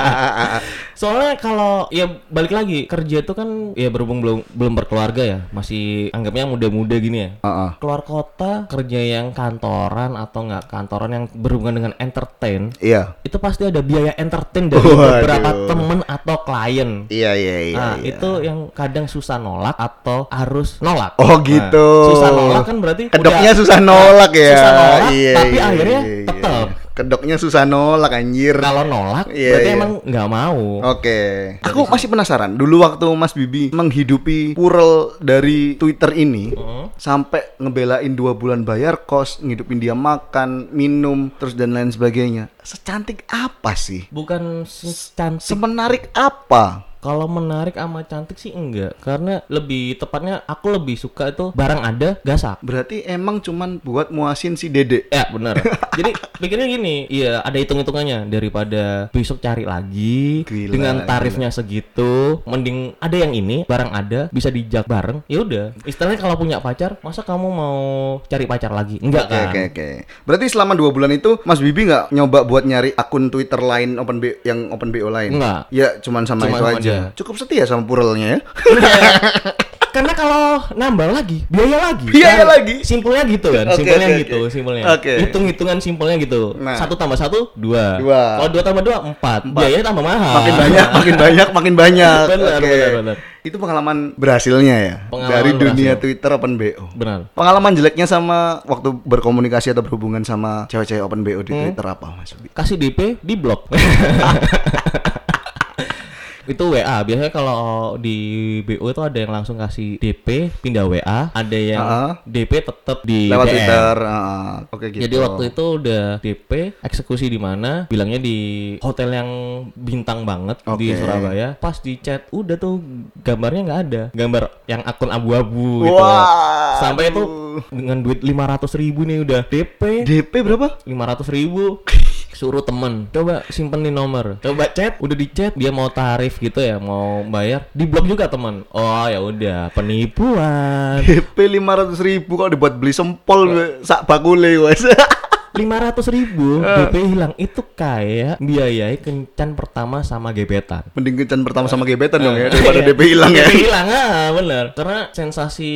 Speaker 2: soalnya kalau ya balik lagi kerja itu kan ya berhubung belum belum berkeluarga ya masih anggapnya muda-muda gini ya
Speaker 1: Heeh.
Speaker 2: keluar kota kerja yang kantoran atau nggak kantoran yang berhubungan dengan entertain
Speaker 1: Iya.
Speaker 2: itu pasti ada biaya entertain dari
Speaker 1: Waduh.
Speaker 2: beberapa temen atau klien
Speaker 1: Iya, iya, iya.
Speaker 2: Nah,
Speaker 1: iya.
Speaker 2: itu yang kadang susah nolak atau harus nolak.
Speaker 1: Oh, gitu.
Speaker 2: Nah, susah nolak kan berarti
Speaker 1: kedoknya
Speaker 2: udah-
Speaker 1: susah nolak ya.
Speaker 2: Susah nolak,
Speaker 1: Iya,
Speaker 2: tapi
Speaker 1: iya,
Speaker 2: akhirnya
Speaker 1: iya, iya.
Speaker 2: tetap.
Speaker 1: Kedoknya susah nolak anjir.
Speaker 2: Kalau nolak
Speaker 1: Iya,
Speaker 2: berarti
Speaker 1: iya. Oh.
Speaker 2: emang nggak mau.
Speaker 1: Oke. Aku masih penasaran. Dulu waktu Mas Bibi menghidupi purel dari Twitter ini sampai ngebelain dua bulan bayar kos, ngidupin dia makan, minum, terus dan lain sebagainya. Secantik apa sih?
Speaker 2: Bukan se- cantik.
Speaker 1: Semenarik apa?
Speaker 2: Kalau menarik sama cantik sih enggak, karena lebih tepatnya aku lebih suka itu barang ada gasak.
Speaker 1: Berarti emang cuman buat muasin si Dede.
Speaker 2: Ya
Speaker 1: *laughs*
Speaker 2: bener Jadi pikirnya gini Iya ada hitung-hitungannya Daripada besok cari lagi
Speaker 1: Gila,
Speaker 2: Dengan tarifnya segitu Mending ada yang ini Barang ada Bisa dijak bareng ya udah Istilahnya kalau punya pacar Masa kamu mau cari pacar lagi? Enggak
Speaker 1: Oke
Speaker 2: kan
Speaker 1: oke oke. Berarti selama dua bulan itu Mas Bibi nggak nyoba buat nyari akun Twitter lain open B- yang open BO lain?
Speaker 2: Nggak.
Speaker 1: Ya cuman sama
Speaker 2: Cuma
Speaker 1: itu
Speaker 2: sama
Speaker 1: aja.
Speaker 2: dia.
Speaker 1: Cukup setia sama
Speaker 2: *laughs*
Speaker 1: purelnya ya. *laughs*
Speaker 2: Karena kalau nambah lagi Biaya lagi
Speaker 1: Biaya
Speaker 2: Kan,
Speaker 1: lagi.
Speaker 2: Simpelnya gitu kan
Speaker 1: Oke,
Speaker 2: Simpelnya
Speaker 1: oke,
Speaker 2: gitu
Speaker 1: oke.
Speaker 2: Simpelnya
Speaker 1: Oke.
Speaker 2: Hitung-hitungan simpelnya gitu
Speaker 1: Nah.
Speaker 2: Satu tambah satu Dua,
Speaker 1: Dua.
Speaker 2: Kalau dua tambah dua Empat, Biayanya tambah mahal
Speaker 1: makin banyak, makin banyak, makin banyak.
Speaker 2: Benar,
Speaker 1: Oke.
Speaker 2: benar, benar.
Speaker 1: Itu pengalaman berhasilnya ya
Speaker 2: Pengalaman
Speaker 1: dari dunia
Speaker 2: berhasil.
Speaker 1: Twitter Open BO.
Speaker 2: Benar
Speaker 1: Pengalaman jeleknya sama waktu berkomunikasi atau berhubungan sama cewek-cewek Open BO di
Speaker 2: Hmm.
Speaker 1: Twitter apa Mas? Bi?
Speaker 2: kasih DP di
Speaker 1: *laughs*
Speaker 2: blok *laughs* itu WA biasanya kalau di BO itu ada yang langsung kasih DP pindah WA ada yang
Speaker 1: Heeh.
Speaker 2: DP tetap di
Speaker 1: Lewat
Speaker 2: DM.
Speaker 1: Twitter. ah, Oke gitu.
Speaker 2: Jadi waktu itu udah DP eksekusi di mana bilangnya di hotel yang bintang banget
Speaker 1: Oke.
Speaker 2: di Surabaya pas di chat udah tuh gambarnya nggak ada gambar yang akun abu-abu gitu
Speaker 1: Wah,
Speaker 2: sampai itu dengan duit 500.000 ribu nih udah DP
Speaker 1: DP berapa?
Speaker 2: lima ratus ribu suruh temen coba simpen nih nomor coba chat udah di chat dia mau tarif gitu ya mau bayar di blok juga temen oh ya udah penipuan
Speaker 1: DP 500 ribu kalau dibuat beli sempol sak bakule wes. *laughs*
Speaker 2: lima ratus ribu DP hilang itu kayak biayai kencan pertama sama gebetan
Speaker 1: Mending kencan pertama sama gebetan dong
Speaker 2: Ah.
Speaker 1: ya daripada
Speaker 2: Iya.
Speaker 1: DP hilang
Speaker 2: *laughs*
Speaker 1: ya.
Speaker 2: Tapi hilang ah, bener. Karena sensasi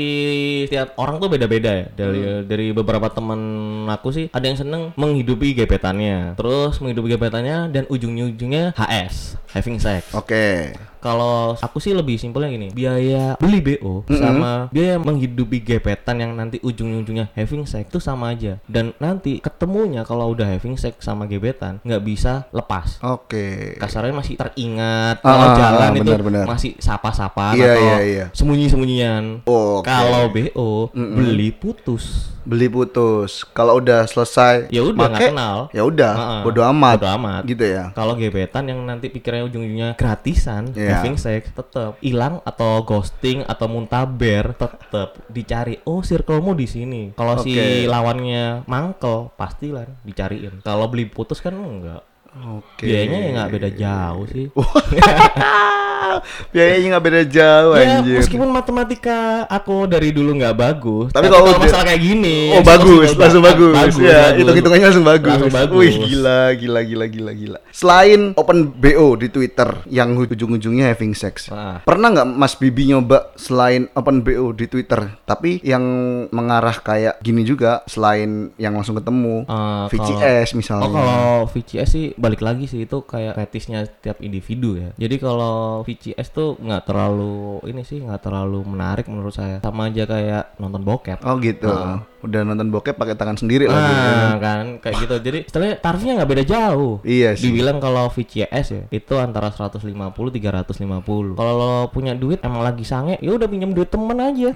Speaker 2: tiap orang tuh beda-beda ya. Dari dari beberapa teman aku sih ada yang seneng menghidupi gebetannya, terus menghidupi gebetannya dan ujung-ujungnya HS, having sex.
Speaker 1: Oke.
Speaker 2: Kalau aku sih lebih simpelnya gini, biaya beli BO sama biaya menghidupi gebetan yang nanti ujung-ujungnya having sex itu sama aja. Dan nanti ketemunya kalau udah having sex sama gebetan nggak bisa lepas
Speaker 1: Oke.
Speaker 2: kasarnya masih
Speaker 1: Ah,
Speaker 2: teringat kalau
Speaker 1: ah,
Speaker 2: jalan
Speaker 1: ah,
Speaker 2: itu
Speaker 1: benar, benar.
Speaker 2: masih sapa-sapaan
Speaker 1: Iya,
Speaker 2: atau
Speaker 1: iya, iya.
Speaker 2: sembunyi-sembunyian.
Speaker 1: Oke.
Speaker 2: Kalau BO beli putus.
Speaker 1: Oh, Beli putus. Kalau udah selesai
Speaker 2: Ya udah
Speaker 1: make,
Speaker 2: nggak kenal.
Speaker 1: Ya udah,
Speaker 2: Heeh.
Speaker 1: bodo amat.
Speaker 2: Bodo amat.
Speaker 1: Gitu ya.
Speaker 2: Kalau gebetan yang nanti pikirannya ujung-ujungnya gratisan,
Speaker 1: Iya.
Speaker 2: having sex tetap hilang atau ghosting atau muntaber tetap dicari. Oh, circlemu di sini. Kalau si
Speaker 1: Oke.
Speaker 2: lawannya mangkel, pastilah dicariin. Kalau beli putus kan enggak.
Speaker 1: Oke.
Speaker 2: Biayanya ya nggak beda jauh sih.
Speaker 1: Biayanya nggak beda jauh
Speaker 2: Ya,
Speaker 1: anjir.
Speaker 2: meskipun matematika aku dari dulu nggak bagus,
Speaker 1: Tapi
Speaker 2: tapi,
Speaker 1: kalau
Speaker 2: kalau
Speaker 1: dia-
Speaker 2: masalah kayak gini,
Speaker 1: Oh bagus, langsung bagus. ya,
Speaker 2: Iya, bagus.
Speaker 1: hitung-hitungannya langsung bagus.
Speaker 2: Langsung bagus.
Speaker 1: Wih, gila, gila, gila, gila, gila. Selain open BO di Twitter yang ujung-ujungnya having sex.
Speaker 2: Ah.
Speaker 1: Pernah nggak Mas Bibi nyoba selain open BO di Twitter, tapi yang mengarah kayak gini juga selain yang langsung ketemu
Speaker 2: Eh,
Speaker 1: VCS misalnya.
Speaker 2: Oh kalau VCS sih balik lagi sih itu kayak fetisnya setiap individu ya. Jadi kalau VCS tuh nggak terlalu ini sih nggak terlalu menarik menurut saya. Sama aja kayak nonton bokep.
Speaker 1: Oh gitu. Udah nonton bokep pakai tangan sendiri lagi. *laughs*
Speaker 2: Nah, kan kayak gitu. Jadi setelah tarifnya nggak beda jauh.
Speaker 1: Iya sih.
Speaker 2: Dibilang kalau VCS ya itu antara 150 350. Kalau lo punya duit emang lagi sange, ya udah pinjam duit temen aja.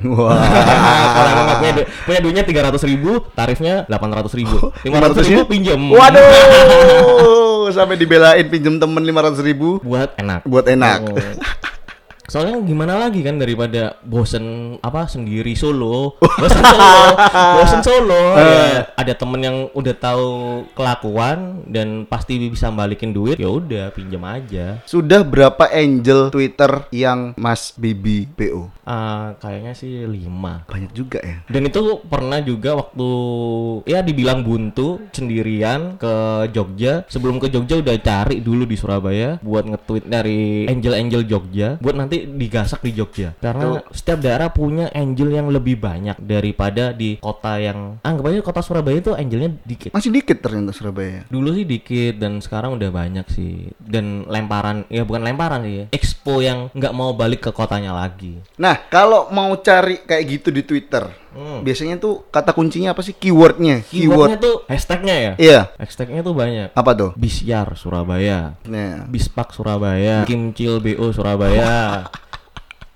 Speaker 1: *laughs*
Speaker 2: Kalau emang nggak punya, duit, punya duitnya 300 ribu, tarifnya 800 ribu. 500 ribu pinjam.
Speaker 1: Waduh, sampai dibelain pinjem temen 500 ribu
Speaker 2: Buat enak.
Speaker 1: buat enak.
Speaker 2: Oh. Soalnya gimana lagi kan daripada bosen apa sendiri solo, bosen solo, bosen solo. ya, ada temen yang udah tahu kelakuan dan pasti bisa balikin duit, ya udah pinjam aja.
Speaker 1: Sudah berapa angel Twitter yang Mas Bibi PO?
Speaker 2: Ah, kayaknya sih lima.
Speaker 1: Banyak juga ya.
Speaker 2: Dan itu pernah juga waktu ya dibilang buntu sendirian ke Jogja. Sebelum ke Jogja udah cari dulu di Surabaya buat nge-tweet dari angel-angel Jogja buat nanti digasak di Jogja. Karena setiap daerah punya angel yang lebih banyak daripada di kota yang anggap aja kota Surabaya itu angelnya dikit
Speaker 1: Masih dikit ternyata Surabaya.
Speaker 2: dulu sih dikit dan sekarang udah banyak sih dan lemparan ya bukan lemparan sih ya expo yang nggak mau balik ke kotanya lagi
Speaker 1: Nah, kalau mau cari kayak gitu di Twitter, biasanya tuh kata kuncinya apa sih? Keywordnya, keyword.
Speaker 2: Hmm. keywordnya tuh hashtagnya ya
Speaker 1: Iya,
Speaker 2: hashtagnya tuh banyak
Speaker 1: apa tuh?
Speaker 2: Bisyar Surabaya,
Speaker 1: Nah,
Speaker 2: Bispak Surabaya, Kimcil BO
Speaker 1: *laughs*
Speaker 2: Surabaya.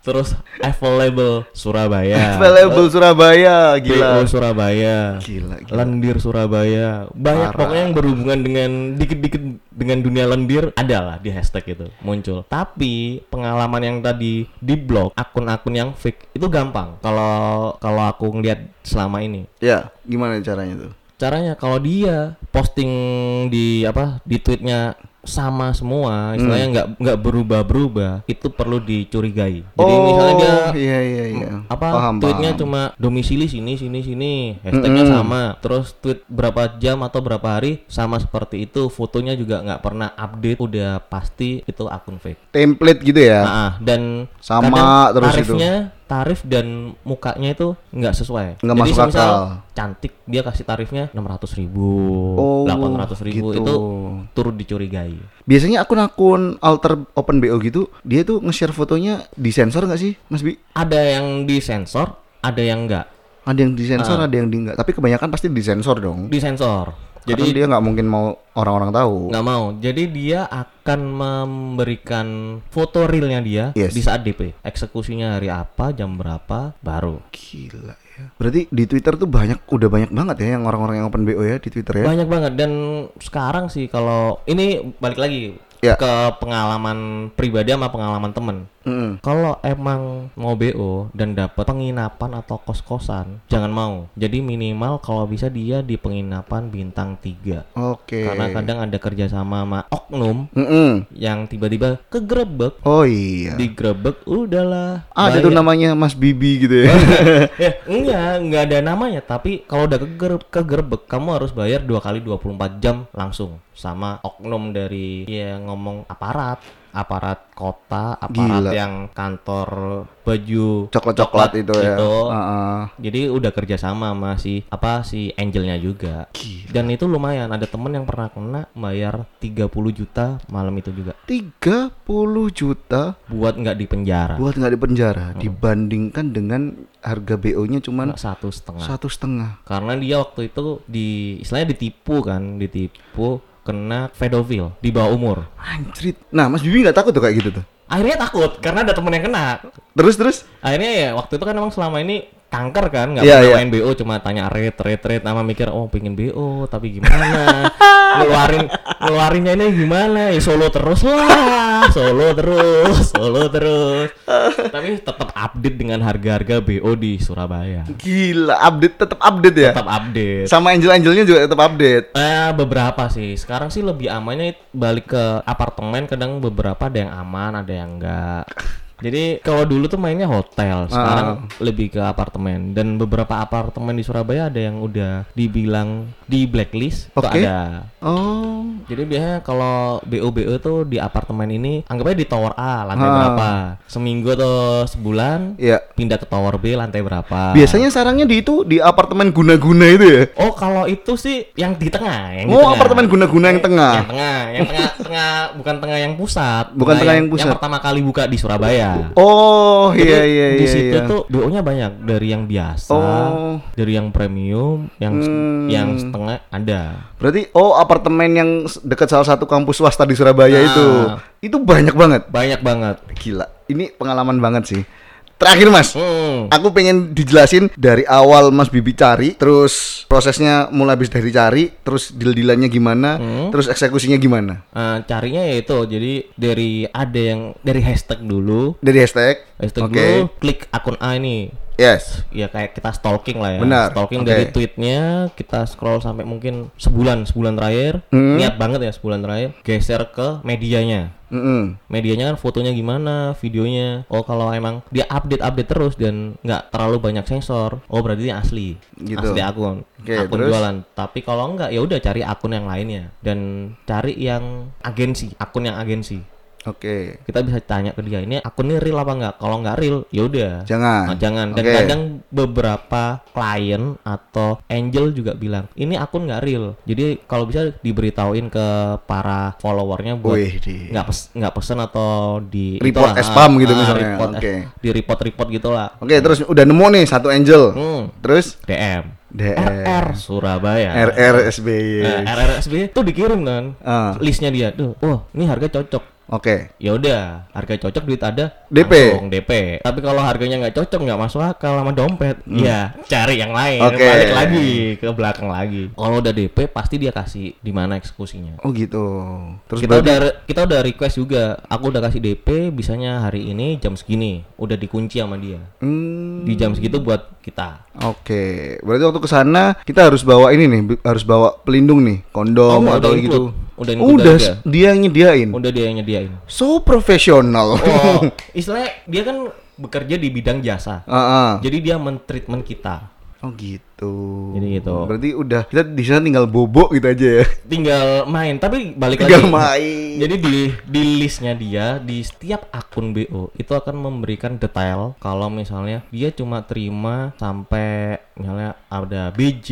Speaker 2: Terus Available Surabaya.
Speaker 1: available Surabaya,
Speaker 2: BO
Speaker 1: gila.
Speaker 2: Surabaya.
Speaker 1: Gila, gila.
Speaker 2: Lendir Surabaya. Banyak pokoknya yang berhubungan dengan dikit-dikit dengan dunia lendir ada lah di hashtag itu muncul. Tapi pengalaman yang tadi di blog akun-akun yang fake itu gampang. Kalau kalau aku ngeliat selama ini
Speaker 1: Ya, gimana caranya tuh?
Speaker 2: caranya kalau dia posting di apa di tweetnya sama semua istilahnya
Speaker 1: Hmm.
Speaker 2: nggak nggak berubah berubah itu perlu dicurigai jadi misalnya dia
Speaker 1: Oh, iya iya iya.
Speaker 2: apa
Speaker 1: Paham,
Speaker 2: tweetnya
Speaker 1: paham.
Speaker 2: cuma domisili sini sini sini hashtagnya sama terus tweet berapa jam atau berapa hari sama seperti itu fotonya juga nggak pernah update udah pasti itu akun fake
Speaker 1: template gitu ya.
Speaker 2: Ah, dan
Speaker 1: Sama
Speaker 2: kadang
Speaker 1: terus itu.
Speaker 2: tarifnya tarif dan mukanya itu nggak sesuai.
Speaker 1: Nggak
Speaker 2: Jadi
Speaker 1: masuk
Speaker 2: semisal
Speaker 1: akal.
Speaker 2: cantik dia kasih tarifnya 600.000 ribu,
Speaker 1: Oh,
Speaker 2: 800 ribu
Speaker 1: gitu.
Speaker 2: itu turut dicurigai.
Speaker 1: Biasanya akun-akun alter open BO gitu, dia tuh nge-share fotonya disensor nggak sih, Mas Bi?
Speaker 2: Ada yang disensor, ada yang nggak
Speaker 1: Ada yang disensor,
Speaker 2: Ah.
Speaker 1: ada yang di enggak. Tapi kebanyakan pasti disensor dong.
Speaker 2: disensor.
Speaker 1: Jadi
Speaker 2: Jadi Nah.
Speaker 1: dia nggak mungkin mau orang-orang tahu.
Speaker 2: nggak mau. Jadi dia akan memberikan foto realnya dia
Speaker 1: Yes.
Speaker 2: di saat DP. Eksekusinya hari apa, jam berapa, baru.
Speaker 1: Gila ya. Berarti di Twitter tuh banyak, udah banyak banget ya yang orang-orang yang open BO ya di Twitter ya.
Speaker 2: Banyak banget dan sekarang sih kalau ini balik lagi
Speaker 1: Ya.
Speaker 2: ke pengalaman pribadi sama pengalaman temen.
Speaker 1: Mm-mm.
Speaker 2: Kalau emang mau BO dan dapat penginapan atau kos-kosan, jangan mau. Jadi minimal kalau bisa dia di penginapan bintang 3.
Speaker 1: Oke.
Speaker 2: Karena kadang ada kerjasama sama oknum
Speaker 1: Mm-mm.
Speaker 2: yang tiba-tiba kegerebek,
Speaker 1: Oh iya.
Speaker 2: digerebek udahlah.
Speaker 1: Ah, ada
Speaker 2: bayar.
Speaker 1: tuh namanya Mas Bibi gitu
Speaker 2: *laughs*
Speaker 1: ya.
Speaker 2: ya, enggak, enggak ada namanya, tapi kalau udah keger kegerebek kamu harus bayar dua kali 24 jam langsung sama oknum dari ya ngomong aparat, aparat kota,
Speaker 1: Gila.
Speaker 2: aparat yang kantor baju
Speaker 1: Coklat-coklat itu ya.
Speaker 2: itu.
Speaker 1: Heeh.
Speaker 2: Jadi udah kerjasama sama si apa si Angelnya juga. Dan itu lumayan. Ada temen yang pernah kena bayar 30 juta malam itu juga
Speaker 1: 30 juta
Speaker 2: buat nggak di penjara.
Speaker 1: buat nggak di penjara
Speaker 2: Hmm.
Speaker 1: dibandingkan dengan harga BO-nya cuman
Speaker 2: satu setengah.
Speaker 1: satu setengah.
Speaker 2: Karena dia waktu itu di istilahnya ditipu kan, ditipu kena pedofil di bawah umur.
Speaker 1: Anjrit. Nah, Mas Bibi nggak takut tuh kayak gitu tuh.
Speaker 2: Akhirnya takut karena ada temen yang kena.
Speaker 1: Terus terus.
Speaker 2: Akhirnya ya waktu itu kan emang selama ini kanker kan nggak
Speaker 1: Iya,
Speaker 2: pernah
Speaker 1: iya.
Speaker 2: main BO cuma tanya rate rate rate sama mikir oh pengen BO tapi gimana *laughs* ngeluarin ngeluarinnya ini gimana ya solo terus lah solo terus solo terus tapi tetap update dengan harga-harga BO di Surabaya
Speaker 1: Gila, update tetap update ya.
Speaker 2: tetap update
Speaker 1: Sama angel-angelnya juga tetap update.
Speaker 2: Eh beberapa sih. Sekarang sih lebih amannya it- balik ke apartemen kadang beberapa ada yang aman, ada yang enggak. Jadi kalau dulu tuh mainnya
Speaker 1: Ah,
Speaker 2: hotel, sekarang lebih ke apartemen. Dan beberapa apartemen di Surabaya ada yang udah dibilang di blacklist, tuh
Speaker 1: Oke.
Speaker 2: ada.
Speaker 1: Oh,
Speaker 2: Jadi biasanya kalau BO-BO tuh di apartemen ini anggapnya di tower A lantai
Speaker 1: Ah.
Speaker 2: berapa. Seminggu atau sebulan
Speaker 1: ya.
Speaker 2: pindah ke tower B lantai berapa.
Speaker 1: Biasanya sarangnya di itu di apartemen guna-guna itu ya.
Speaker 2: Oh kalau itu sih yang di tengah, yang di
Speaker 1: Oh,
Speaker 2: tengah.
Speaker 1: apartemen guna-guna yang tengah.
Speaker 2: Yang tengah, yang tengah, tengah bukan tengah yang pusat.
Speaker 1: Ah. Bukan tengah yang pusat.
Speaker 2: Yang pertama kali buka di Surabaya.
Speaker 1: Oh, *laughs* iya iya iya.
Speaker 2: Di situ
Speaker 1: iya.
Speaker 2: tuh BO-nya banyak dari yang biasa,
Speaker 1: Oh.
Speaker 2: dari yang premium, yang
Speaker 1: Hmm.
Speaker 2: yang setengah ada.
Speaker 1: Berarti oh apartemen yang s- dekat salah satu kampus swasta di Surabaya
Speaker 2: Nah.
Speaker 1: itu. Itu banyak banget.
Speaker 2: Banyak banget.
Speaker 1: Gila. Ini pengalaman banget sih. Terakhir Mas,
Speaker 2: Hmm.
Speaker 1: aku pengen dijelasin dari awal Mas Bibi cari, terus prosesnya mulai habis dari cari, terus deal-dealannya gimana,
Speaker 2: Hmm.
Speaker 1: terus eksekusinya gimana.
Speaker 2: Eh, carinya ya itu jadi dari ada yang dari hashtag dulu
Speaker 1: Dari hashtag.
Speaker 2: hashtag
Speaker 1: Oke.
Speaker 2: dulu klik akun A ini
Speaker 1: Yes.
Speaker 2: ya kayak kita stalking lah ya
Speaker 1: Benar, oke.
Speaker 2: stalking dari tweetnya kita scroll sampai mungkin sebulan sebulan terakhir
Speaker 1: Hmm.
Speaker 2: niat banget ya sebulan terakhir geser ke medianya
Speaker 1: Mm-mm.
Speaker 2: medianya kan fotonya gimana videonya oh kalau emang dia update update terus dan nggak terlalu banyak sensor oh berarti dia asli
Speaker 1: Gitu.
Speaker 2: asli akun
Speaker 1: Oke,
Speaker 2: akun
Speaker 1: terus?
Speaker 2: jualan tapi kalau nggak ya udah cari akun yang lainnya dan cari yang agensi akun yang agensi
Speaker 1: Oke.
Speaker 2: kita bisa tanya ke dia ini akun ini real apa nggak kalau nggak real ya udah
Speaker 1: Jangan.
Speaker 2: Nah, jangan. Dan
Speaker 1: Oke.
Speaker 2: kadang beberapa klien atau angel juga bilang, ini akun nggak real. Jadi kalau bisa diberitahuin ke para followernya buat
Speaker 1: Wih, di.
Speaker 2: nggak pes- nggak pesen atau di
Speaker 1: Report
Speaker 2: itulah,
Speaker 1: as spam
Speaker 2: ah,
Speaker 1: gitu
Speaker 2: ah,
Speaker 1: misalnya.
Speaker 2: report as-
Speaker 1: Oke.
Speaker 2: di report report gitulah.
Speaker 1: Oke, terus udah nemu nih satu angel.
Speaker 2: Hmm.
Speaker 1: Terus
Speaker 2: DM.
Speaker 1: DR.
Speaker 2: RR Surabaya. *laughs*
Speaker 1: RRSBY.
Speaker 2: Nah, RRSB itu dikirim kan.
Speaker 1: Ah.
Speaker 2: Listnya dia. Duh, wah, ini harga cocok.
Speaker 1: Oke.
Speaker 2: Ya udah, harga cocok duit ada.
Speaker 1: DP.
Speaker 2: langsung DP. Tapi kalau harganya nggak cocok nggak masuk akal sama dompet. Ya cari yang lain.
Speaker 1: Hmm. Oke.
Speaker 2: Balik lagi ke belakang lagi. Kalau udah DP pasti dia kasih di mana eksekusinya.
Speaker 1: Oh gitu. Terus
Speaker 2: kita udah kita udah request juga. Aku udah kasih DP, bisanya hari ini jam segini. Udah dikunci sama dia.
Speaker 1: Hmm,
Speaker 2: Di jam segitu buat kita.
Speaker 1: Oke, berarti waktu ke sana kita harus bawa ini nih, bi- harus bawa pelindung nih, kondom
Speaker 2: Oh, udah
Speaker 1: atau
Speaker 2: include.
Speaker 1: gitu.
Speaker 2: Udah
Speaker 1: Oh,
Speaker 2: include
Speaker 1: udah
Speaker 2: harga.
Speaker 1: s- dia yang nyediain.
Speaker 2: Udah dia yang
Speaker 1: *laughs*
Speaker 2: nyediain.
Speaker 1: So profesional.
Speaker 2: Oh,
Speaker 1: *laughs*
Speaker 2: istilahnya dia kan bekerja di bidang jasa.
Speaker 1: Ah, ah.
Speaker 2: Jadi dia mentreatment kita.
Speaker 1: Oh gitu.
Speaker 2: Jadi gitu.
Speaker 1: Berarti udah kita di sana tinggal bobok gitu aja ya.
Speaker 2: Tinggal main, tapi
Speaker 1: *laughs*
Speaker 2: balik
Speaker 1: Tinggal
Speaker 2: lagi.
Speaker 1: main.
Speaker 2: Jadi di di listnya dia di setiap akun BO itu akan memberikan detail kalau misalnya dia cuma terima sampai misalnya ada BJ,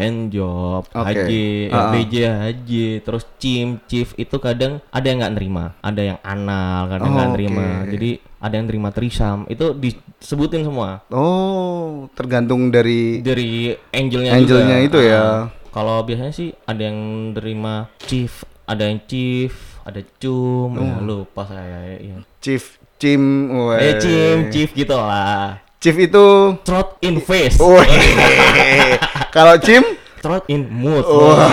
Speaker 2: handjob,
Speaker 1: Oke.
Speaker 2: HJ, eh,
Speaker 1: Ah.
Speaker 2: BJ, HJ, terus CIM, chief itu kadang ada yang nggak nerima, ada yang anal, kadang
Speaker 1: Oh,
Speaker 2: nggak nerima.
Speaker 1: oke.
Speaker 2: Jadi ada yang terima trisam, itu disebutin semua
Speaker 1: Oh, tergantung dari
Speaker 2: dari angelnya
Speaker 1: Angelnya
Speaker 2: juga.
Speaker 1: itu ya.
Speaker 2: Ah. kalau biasanya sih ada yang terima chief ada yang chief ada cum ya,
Speaker 1: Hmm.
Speaker 2: lupa saya ya, ya.
Speaker 1: chief, chim, weh.
Speaker 2: eh
Speaker 1: iya.
Speaker 2: chief chief gitu lah
Speaker 1: Chief itu
Speaker 2: trot in face
Speaker 1: *laughs* Wih. Kalau chim? Oh.
Speaker 2: trot in mood
Speaker 1: *laughs* Wah.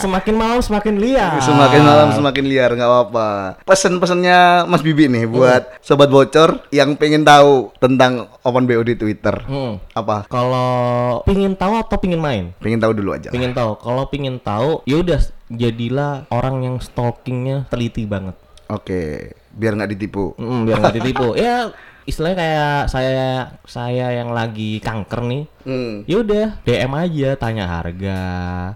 Speaker 2: semakin malam semakin liar.
Speaker 1: Semakin malam semakin liar nggak apa-apa. Pesan-pesannya Mas Bibi nih buat sobat bocor yang pengen tahu tentang Open BO di Twitter.
Speaker 2: Hmm.
Speaker 1: Apa?
Speaker 2: Kalau pingin tahu atau pingin main?
Speaker 1: Pengen tahu dulu aja.
Speaker 2: Pingin tahu. Kalau pingin tahu, ya udah jadilah orang yang stalkingnya teliti banget.
Speaker 1: Oke, biar nggak ditipu.
Speaker 2: Mm, biar nggak
Speaker 1: *laughs*
Speaker 2: ditipu. ya istilahnya kayak saya saya yang lagi kanker nih.
Speaker 1: Hmm.
Speaker 2: Ya udah DM aja tanya harga.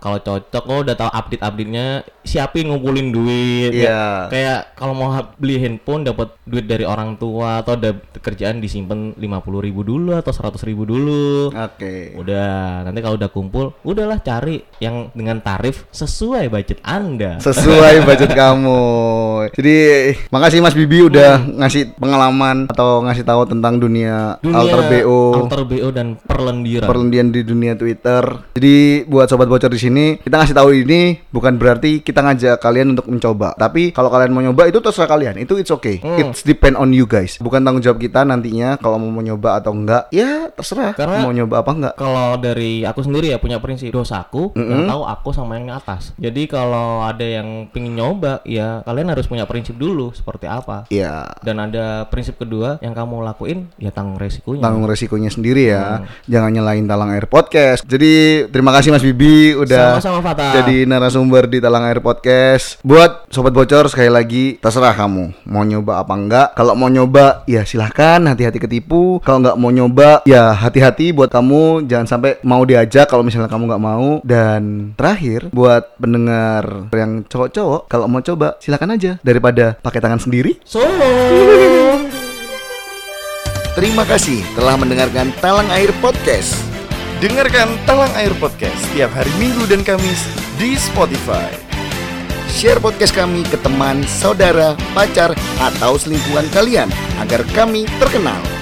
Speaker 2: Kalau cocok lo udah tahu update-update-nya, siapin ngumpulin duit.
Speaker 1: Iya.
Speaker 2: Ya, kayak kalau mau ha- beli handphone dapat duit dari orang tua atau ada kerjaan disimpan 50 ribu dulu atau 100 ribu dulu.
Speaker 1: Oke.
Speaker 2: Udah, nanti kalau udah kumpul, udahlah cari yang dengan tarif sesuai budget Anda.
Speaker 1: Sesuai budget kamu. Jadi makasih Mas Bibi udah
Speaker 2: Hmm.
Speaker 1: ngasih pengalaman atau ngasih tahu tentang dunia, alter BO.
Speaker 2: alter BO dan perlendiran.
Speaker 1: perlendian di dunia Twitter. Jadi buat sobat bocor di sini, kita ngasih tahu ini bukan berarti kita ngajak kalian untuk mencoba. Tapi kalau kalian mau nyoba itu terserah kalian. Itu it's okay.
Speaker 2: Hmm.
Speaker 1: It's depend on you guys. Bukan tanggung jawab kita nantinya kalau mau nyoba atau enggak. Ya terserah.
Speaker 2: Karena-
Speaker 1: mau nyoba apa enggak.
Speaker 2: kalau dari aku sendiri ya punya prinsip dosaku yang tahu aku sama yang atas. Jadi kalau ada yang pingin nyoba ya kalian harus punya prinsip dulu seperti apa.
Speaker 1: Ya
Speaker 2: Dan ada prinsip kedua yang kamu lakuin ya tanggung resikonya.
Speaker 1: tanggung resikonya sendiri ya. Jangan nyalain Talang Air Podcast. Jadi terima kasih Mas Bibi udah
Speaker 2: Sama-sama Fata.
Speaker 1: jadi narasumber di Talang Air Podcast. Buat sobat bocor sekali lagi terserah kamu mau nyoba apa enggak. Kalau mau nyoba ya silahkan hati-hati ketipu. Kalau nggak mau nyoba ya hati-hati buat kamu jangan sampai mau diajak kalau misalnya kamu nggak mau. Dan terakhir buat pendengar yang cowok-cowok kalau mau coba silahkan aja daripada pakai tangan sendiri.
Speaker 2: Solo.
Speaker 1: Terima kasih telah mendengarkan Talang Air Podcast.
Speaker 3: Dengarkan Talang Air Podcast setiap hari Minggu dan Kamis di Spotify.
Speaker 1: Share podcast kami ke teman, saudara, pacar, atau selingkuhan kalian agar kami terkenal.